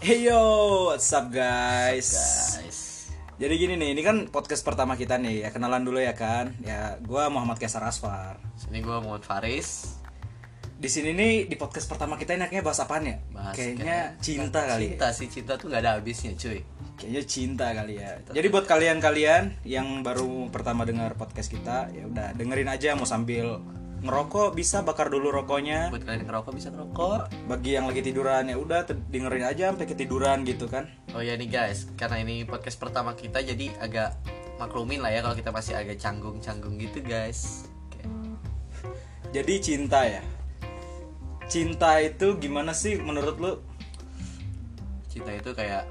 Hey yo, what's up guys? guys. Jadi gini nih, ini kan podcast pertama kita nih. Ya kenalan dulu ya kan. Ya, gua Muhammad Kaisar Asfar. Sini gue Muhammad Faris. Di sini nih di podcast pertama kita enaknya bahas apaan ya? Bahas Kayaknya cinta kali. ya. Cinta sih cinta tuh nggak ada habisnya cuy. Kayaknya cinta kali ya. Jadi buat kalian-kalian yang baru pertama dengar podcast kita, ya udah dengerin aja mau sambil ngerokok bisa bakar dulu rokoknya. Buat kalian yang ngerokok bisa ngerokok. Bagi yang lagi tiduran ya udah te- dengerin aja sampai ketiduran gitu kan. Oh ya nih guys, karena ini podcast pertama kita jadi agak maklumin lah ya kalau kita masih agak canggung-canggung gitu guys. Oke. Jadi cinta ya. Cinta itu gimana sih menurut lu? Cinta itu kayak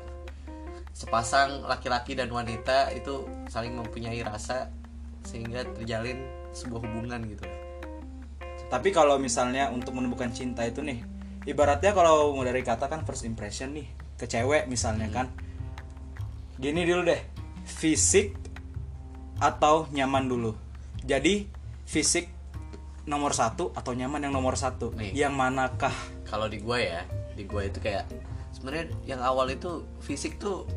sepasang laki-laki dan wanita itu saling mempunyai rasa sehingga terjalin sebuah hubungan gitu. Tapi kalau misalnya untuk menemukan cinta itu nih, ibaratnya kalau mau dari kata kan first impression nih ke cewek misalnya kan. Gini dulu deh, fisik atau nyaman dulu. Jadi fisik nomor satu atau nyaman yang nomor satu. Nih. Yang manakah? kalau di gua ya di gua itu kayak sebenarnya yang awal itu fisik tuh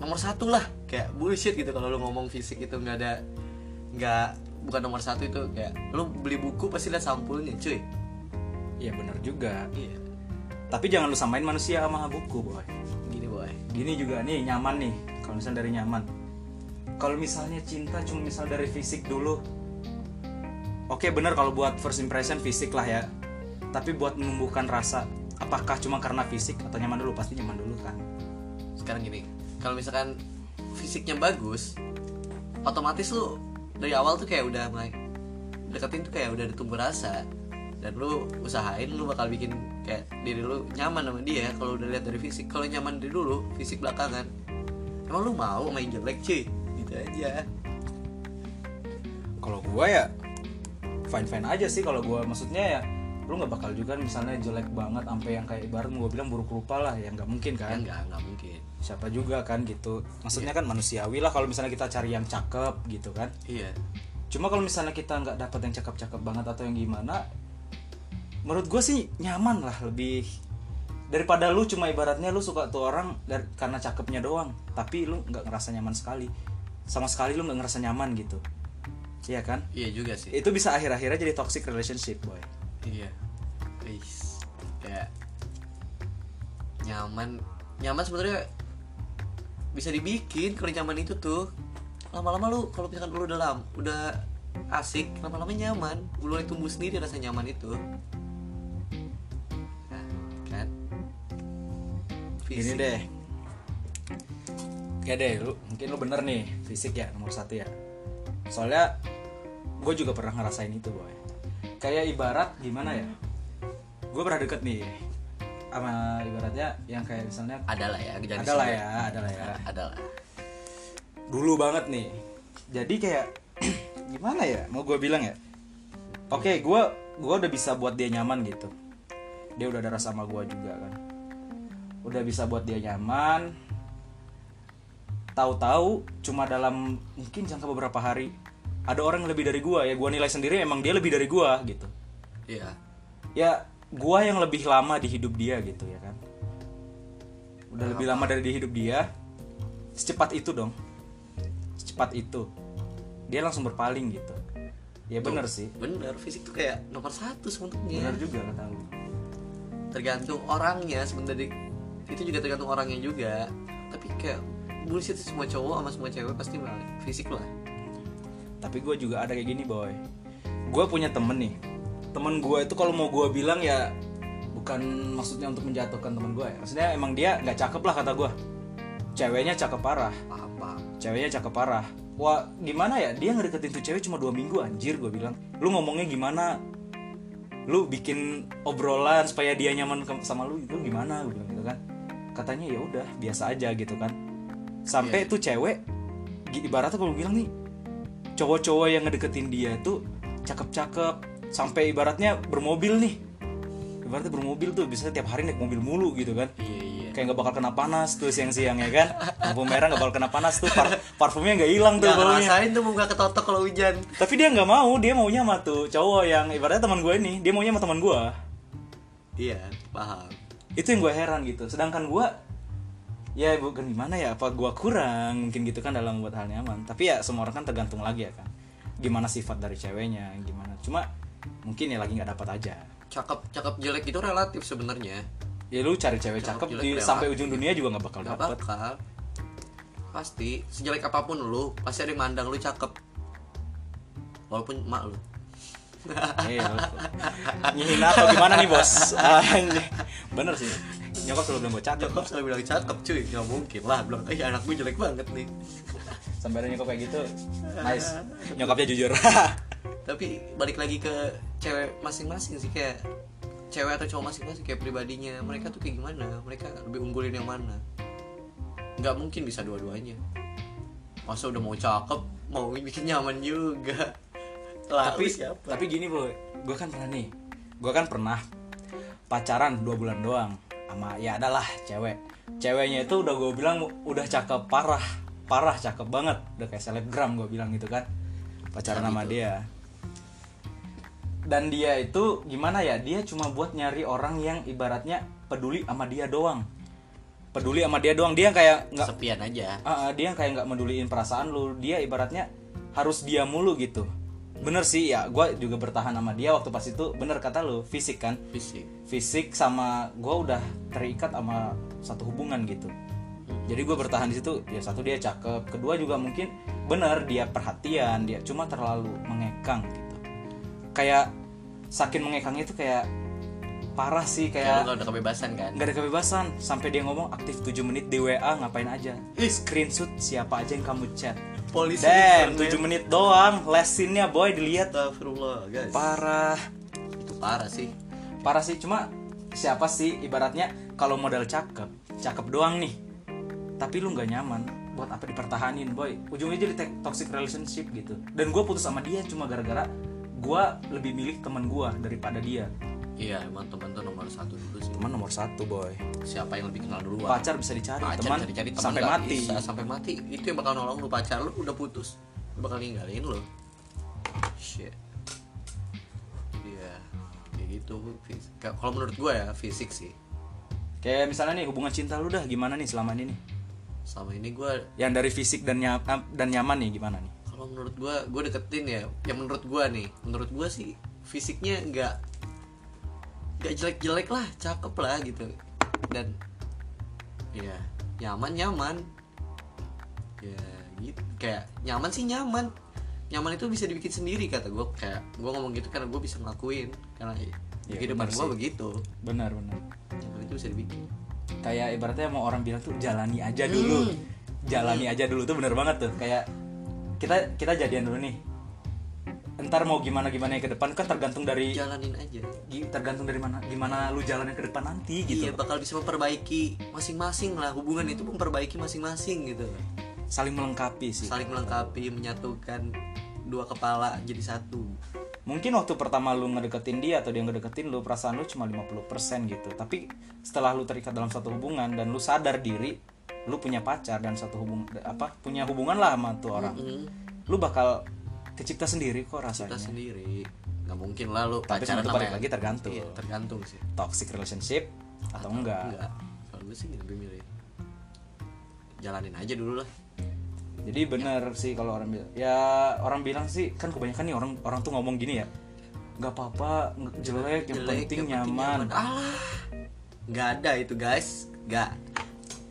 nomor satu lah kayak bullshit gitu kalau lu ngomong fisik itu nggak ada nggak bukan nomor satu itu kayak lu beli buku pasti lihat sampulnya cuy Iya bener juga. iya Tapi jangan lu samain manusia sama buku, boy. gini boy Gini juga nih nyaman nih. Kalau misalnya dari nyaman. Kalau misalnya cinta cuma misal dari fisik dulu. Oke bener kalau buat first impression fisik lah ya. Tapi buat menumbuhkan rasa, apakah cuma karena fisik atau nyaman dulu? Pasti nyaman dulu kan. sekarang gini kalau misalkan fisiknya bagus otomatis lu dari awal tuh kayak udah mulai deketin tuh kayak udah ditumbuh rasa dan lu usahain lu bakal bikin kayak diri lu nyaman sama dia kalau udah lihat dari fisik kalau nyaman dari dulu fisik belakangan emang lu mau main jelek cuy gitu aja Kalau gua ya fine fine aja sih kalau gua maksudnya ya lu nggak bakal juga misalnya jelek banget sampai yang kayak ibarat gua bilang buruk rupa lah ya nggak mungkin ya kan enggak enggak mungkin siapa juga kan gitu maksudnya kan manusiawi lah kalau misalnya kita cari yang cakep gitu kan iya Cuma kalau misalnya kita nggak dapat yang cakep-cakep banget atau yang gimana, menurut gue sih nyaman lah lebih daripada lu cuma ibaratnya lu suka tuh orang dar- karena cakepnya doang, tapi lu nggak ngerasa nyaman sekali, sama sekali lu nggak ngerasa nyaman gitu, iya kan? iya juga sih Itu bisa akhir-akhirnya jadi toxic relationship boy. Iya. Wis. Kayak nyaman. Nyaman sebenarnya bisa dibikin kalau nyaman itu tuh. Lama-lama lu kalau misalkan lu udah lam, udah asik, lama-lama nyaman, lu mulai tumbuh sendiri rasa nyaman itu. Nah, kan. Gini Fisik. deh. Oke deh, lu mungkin lu bener nih fisik ya nomor satu ya. Soalnya gue juga pernah ngerasain itu boy. Kayak ibarat gimana ya? Gue pernah deket nih sama ibaratnya yang kayak misalnya Ada lah ya, jangan ada lah disebut. ya, ada lah ya. Ada lah. Dulu banget nih. Jadi kayak gimana ya? Mau gue bilang ya? Oke, gue gua udah bisa buat dia nyaman gitu. Dia udah ada rasa sama gue juga kan. Udah bisa buat dia nyaman. Tahu-tahu cuma dalam mungkin jangka beberapa hari ada orang yang lebih dari gue ya gue nilai sendiri emang dia lebih dari gue gitu. Iya. Ya gue yang lebih lama di hidup dia gitu ya kan. Udah lebih lama dari di hidup dia. Secepat itu dong. Secepat itu. Dia langsung berpaling gitu. Ya bener sih. Bener, fisik tuh kayak nomor satu sebetulnya. Benar juga kata lu. tergantung orangnya sebenarnya itu juga tergantung orangnya juga tapi kayak bullshit sih semua cowok sama semua cewek pasti mah fisik lah Tapi gue juga ada kayak gini boy. Gue punya temen nih. Temen gue itu kalau mau gue bilang ya bukan maksudnya untuk menjatuhkan temen gue. Ya. Maksudnya emang dia nggak cakep lah kata gue. Ceweknya cakep parah. paham paham Ceweknya cakep parah. Wah gimana ya? Dia ngedeketin tuh cewek cuma dua minggu anjir gue bilang. Lu ngomongnya gimana? Lu bikin obrolan supaya dia nyaman ke- sama lu itu gimana? Gue bilang gitu kan. Katanya ya udah biasa aja gitu kan. Sampai tuh cewek gi- ibaratnya kalau bilang nih cowok-cowok yang ngedeketin dia tuh cakep-cakep sampai ibaratnya bermobil nih ibaratnya bermobil tuh bisa tiap hari naik mobil mulu gitu kan iya iya kayak nggak bakal kena panas tuh siang-siang ya kan lampu merah nggak bakal kena panas tuh par- parfumnya nggak hilang tuh nggak baunya ngerasain tuh muka ketotok kalau hujan tapi dia nggak mau dia maunya sama tuh cowok yang ibaratnya teman gue ini dia maunya sama teman gue iya paham itu yang gue heran gitu sedangkan gue ya bukan gimana ya apa gue kurang mungkin gitu kan dalam buat hal nyaman tapi ya semua orang kan tergantung lagi ya kan gimana sifat dari ceweknya gimana cuma mungkin ya lagi nggak dapat aja cakep cakep jelek itu relatif sebenarnya ya lu cari cewek cakep jelek di lewat. sampai ujung dunia juga nggak bakal nggak dapat bakal pasti sejelek apapun lu pasti ada yang mandang lu cakep walaupun emak lu Eh, ngehina atau gimana nih bos Anjing. bener sih nyokap selalu bilang gue cakep nyokap selalu bilang cakep cuy nggak mungkin lah bilang eh anak gue jelek banget nih sampai ada nyokap kayak gitu nice nyokapnya jujur tapi balik lagi ke cewek masing-masing sih kayak cewek atau cowok masing-masing kayak pribadinya mereka tuh kayak gimana mereka lebih unggulin yang mana nggak mungkin bisa dua-duanya masa udah mau cakep mau bikin nyaman juga lah tapi lu siapa tapi gini bro gue kan pernah nih gue kan pernah pacaran dua bulan doang sama ya adalah cewek ceweknya itu udah gue bilang udah cakep parah parah cakep banget udah kayak selebgram gue bilang gitu kan pacaran sama dia dan dia itu gimana ya dia cuma buat nyari orang yang ibaratnya peduli sama dia doang peduli sama dia doang dia kayak nggak sepian aja Ah, ah, dia yang kayak nggak meduliin perasaan lu dia ibaratnya harus dia mulu gitu bener sih ya gue juga bertahan sama dia waktu pas itu bener kata lu fisik kan fisik fisik sama gue udah terikat sama satu hubungan gitu jadi gue bertahan di situ ya satu dia cakep kedua juga mungkin bener dia perhatian dia cuma terlalu mengekang gitu kayak saking mengekangnya itu kayak parah sih ya, kayak lu nggak ada kebebasan kan nggak ada kebebasan sampai dia ngomong aktif 7 menit di WA ngapain aja Ih. screenshot siapa aja yang kamu chat polisi damn 7 menit doang lesinnya boy dilihat Astagfirullah guys parah itu parah sih parah sih cuma siapa sih ibaratnya kalau modal cakep cakep doang nih tapi lu nggak nyaman buat apa dipertahanin boy ujungnya jadi te- toxic relationship gitu dan gue putus sama dia cuma gara-gara gue lebih milih teman gue daripada dia iya emang teman tuh nomor satu dulu sih teman nomor satu boy siapa yang lebih kenal duluan pacar bisa dicari Nah, teman cari -cari Nah, sampai mati sampai mati itu yang bakal nolong lu pacar lu udah putus lu bakal ninggalin lu shit iya kayak gitu Fis- ka- kalau menurut gue ya fisik sih Kayak misalnya nih hubungan cinta lu dah gimana nih selama ini nih? sama ini gue Yang dari fisik dan nya- dan nyaman nih gimana nih? kalau menurut gue gue deketin ya yang menurut gue nih menurut gue sih fisiknya nggak nggak jelek-jelek lah cakep lah gitu dan ya nyaman nyaman ya gitu kayak nyaman sih nyaman nyaman itu bisa dibikin sendiri kata gue kayak gue ngomong gitu karena gue bisa ngelakuin karena ya, di Iya, kehidupan bener gue sih. begitu Benar benar. nyaman itu bisa dibikin Kayak ibaratnya mau orang bilang tuh jalani aja dulu. Jalani aja dulu tuh bener banget tuh. Kayak kita kita jadian dulu nih. Entar mau gimana gimana ke depan kan tergantung dari jalanin aja gi- tergantung dari mana gimana lu jalannya ke depan nanti gitu. iya bakal bisa memperbaiki masing-masing lah hubungan itu memperbaiki masing-masing gitu Saling melengkapi sih. saling melengkapi menyatukan dua kepala jadi satu Mungkin waktu pertama lu ngedeketin dia atau dia ngedeketin lu perasaan lu cuma 50% gitu. Tapi setelah lu terikat dalam satu hubungan dan lu sadar diri lu punya pacar dan satu hubungan apa punya hubungan lah sama tuh orang. Lu bakal kecipta sendiri kok kita rasanya. sendiri nggak mungkin lah lu Tapi pacaran sebenarnya sama balik yang- lagi tergantung. iya, tergantung sih Toxic relationship atau Hmm. enggak. enggak kalau gue sih lebih milih jalanin aja dulu lah Jadi bener sih kalau orang bilang ya orang bilang sih kan kebanyakan nih orang orang tuh ngomong gini ya. nggak apa-apa nge- jelek yang Jelek, penting yang nyaman. penting alah nggak ada itu guys nggak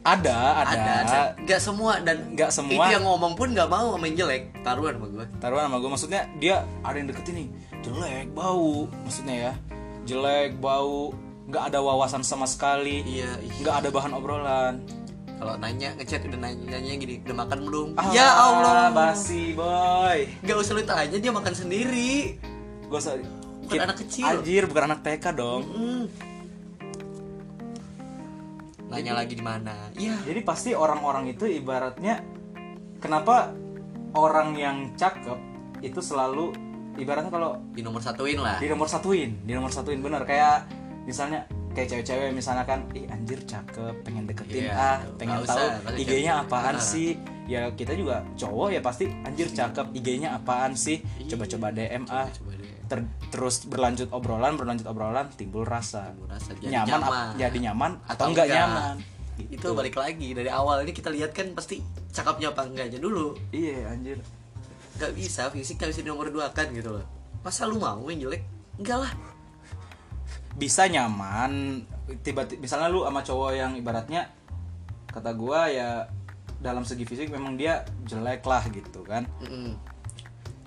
Ada, ada. ada dan nggak semua dan Nggak semua. itu yang ngomong pun nggak mau sama yang jelek taruhan sama gue taruhan sama gue maksudnya dia ada yang deketin nih jelek bau maksudnya ya jelek bau nggak ada wawasan sama sekali iya ih. nggak ada bahan obrolan kalau nanya ngechat udah nanya nanya gini udah makan belum Ah, ya allah basi boy nggak usah lu tanya dia makan sendiri gue usah Bukan anak kecil. anjir bukan anak TK dong nanya lagi di mana iya jadi pasti orang-orang itu ibaratnya kenapa orang yang cakep itu selalu ibaratnya kalau di nomor satuin lah di nomor satuin di nomor satuin bener kayak misalnya kayak cewek-cewek misalnya kan ih anjir cakep pengen deketin Iya, ah nggak pengen usah, tahu nggak usah IG-nya cewek. apaan Nah. sih ya Iya. kita juga cowok ya pasti anjir cakep IG-nya apaan sih coba-coba DM ah coba deh Ter- terus berlanjut obrolan berlanjut obrolan timbul rasa Timbul rasa, jadi nyaman, nyaman. ap- jadi nyaman atau, Atau enggak, enggak. nyaman Gitu. itu balik lagi dari awal ini kita lihat kan pasti cakepnya apa enggaknya dulu iya anjir nggak bisa fisik nggak bisa nomor dua kan gitu loh masa lu mau yang jelek enggak lah bisa nyaman tiba-tiba misalnya lu sama cowok yang ibaratnya kata gua ya dalam segi fisik memang dia jelek lah gitu kan Mm-mm.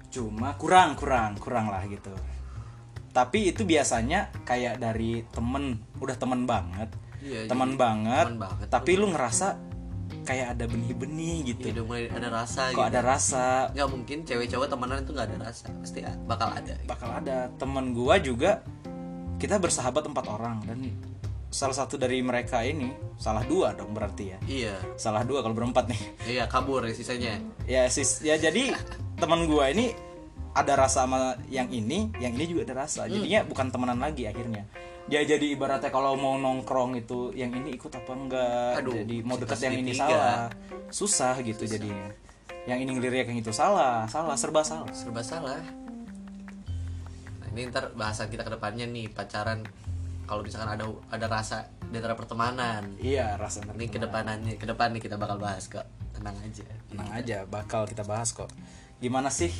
cuma kurang kurang kurang lah gitu tapi itu biasanya kayak dari temen udah temen banget Iya, teman jadi banget, teman banget. tapi lu ngerasa kayak ada benih-benih gitu ya udah mulai ada rasa kok ada rasa nggak mungkin cewek cowok temenan itu nggak ada rasa pasti a- bakal ada gitu. bakal ada teman gua juga kita bersahabat empat orang dan salah satu dari mereka ini salah dua dong berarti ya iya salah dua kalau berempat nih iya kabur ya sisanya ya sis ya jadi teman gua ini ada rasa sama yang ini yang ini juga ada Hmm. rasa jadinya bukan temenan lagi akhirnya dia jadi ibaratnya kalau mau nongkrong itu yang ini ikut apa enggak Aduh, jadi mau deket kita yang ini segitiga. salah susah gitu jadinya yang ini ngelirik yang itu salah salah serba salah serba salah nah ini ntar bahasan kita kedepannya nih pacaran kalau misalkan ada ada rasa di antara pertemanan iya rasa ini kedepanannya kedepan nih kita bakal bahas kok tenang aja tenang aja bakal kita bahas kok gimana sih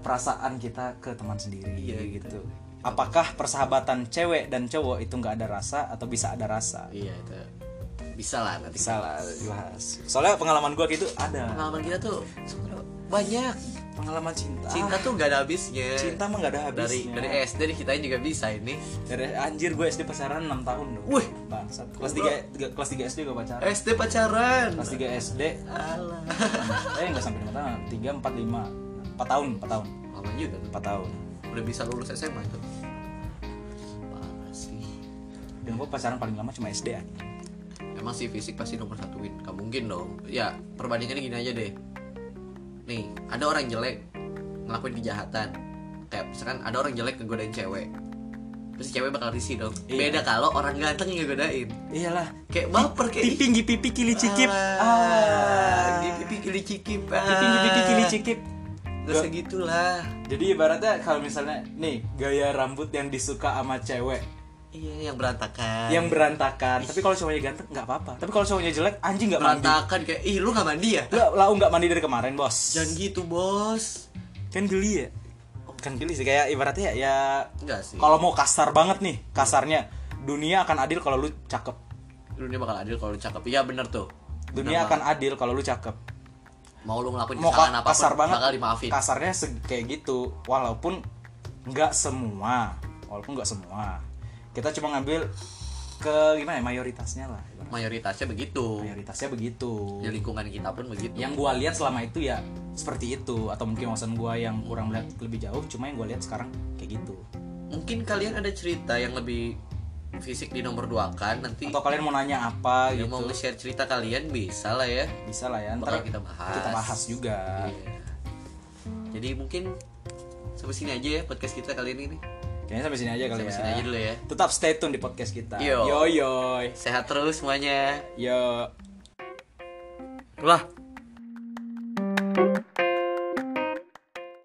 perasaan kita ke teman sendiri Iya, gitu apakah persahabatan cewek dan cowok itu nggak ada rasa atau bisa ada rasa iya itu bisa lah nanti bisa lah dibahas soalnya pengalaman gua gitu ada pengalaman kita tuh sebenarnya banyak pengalaman cinta cinta tuh gak ada habisnya cinta mah nggak ada dari habisnya dari E. SD nih kita juga bisa ini Dari- anjir gue SD pacaran 6 tahun dong Wih. bangsat kelas 3 kelas 3 SD gue pacaran SD pacaran kelas 3 SD Alah. eh nggak sampai 5 tahun 3 4 5 4 tahun 4 tahun lama juga kan 4 tahun udah bisa lulus SMA tuh parah sih dan gue pacaran paling lama cuma SD aja emang sih fisik pasti nomor satu win gak mungkin dong ya perbandingannya gini aja deh nih ada orang jelek ngelakuin kejahatan kayak misalkan ada orang jelek ngegodain cewek pasti cewek bakal risih dong Iya. beda kalau orang ganteng yang ngegodain iyalah kayak baper kayak "Ih, Tiping pipi kili cikip Alah, ah pipi kili cikip Tiping pipi kili cikip Gak "Ah." segitulah jadi ibaratnya kalau misalnya nih gaya rambut yang disuka sama cewek Iya yang berantakan yang berantakan tapi kalau cowoknya ganteng nggak apa-apa tapi kalau cowoknya jelek anjing nggak mandi Berantakan kayak Ih lu gak mandi ya? lah lau nggak mandi dari kemarin bos Jangan gitu bos kan geli ya kan geli sih kayak ibaratnya ya, ya Enggak sih kalau mau kasar banget nih kasarnya dunia akan adil kalau lu cakep Dunia bakal adil kalau lu cakep Iya bener tuh dunia akan adil kalau lu cakep Mau lu ngelakuin mau kesalahan ka- apapun kasar banget Bakal dimaafin kasarnya se- kayak gitu walaupun nggak semua walaupun nggak semua kita cuma ngambil ke gimana ya mayoritasnya lah Mayoritasnya begitu mayoritasnya begitu Di lingkungan kita pun begitu Ya, yang gua lihat selama itu ya seperti itu atau mungkin wawasan gua yang kurang melihat lebih jauh cuma yang gua lihat sekarang kayak gitu Mungkin kalian ada cerita yang lebih Fisik di nomor dua kan Nanti atau kalian mau nanya apa gitu yang Ya, mau nge-share cerita kalian bisa lah ya bisa lah ya ntar Bakal kita bahas kita bahas juga Iya. Jadi mungkin sampai sini aja ya podcast kita kali ini nih. kayaknya sampai sini aja kali Sampai ya sini aja dulu ya. tetap stay tune di podcast kita Yo. yo yo Sehat terus semuanya. yo Lah,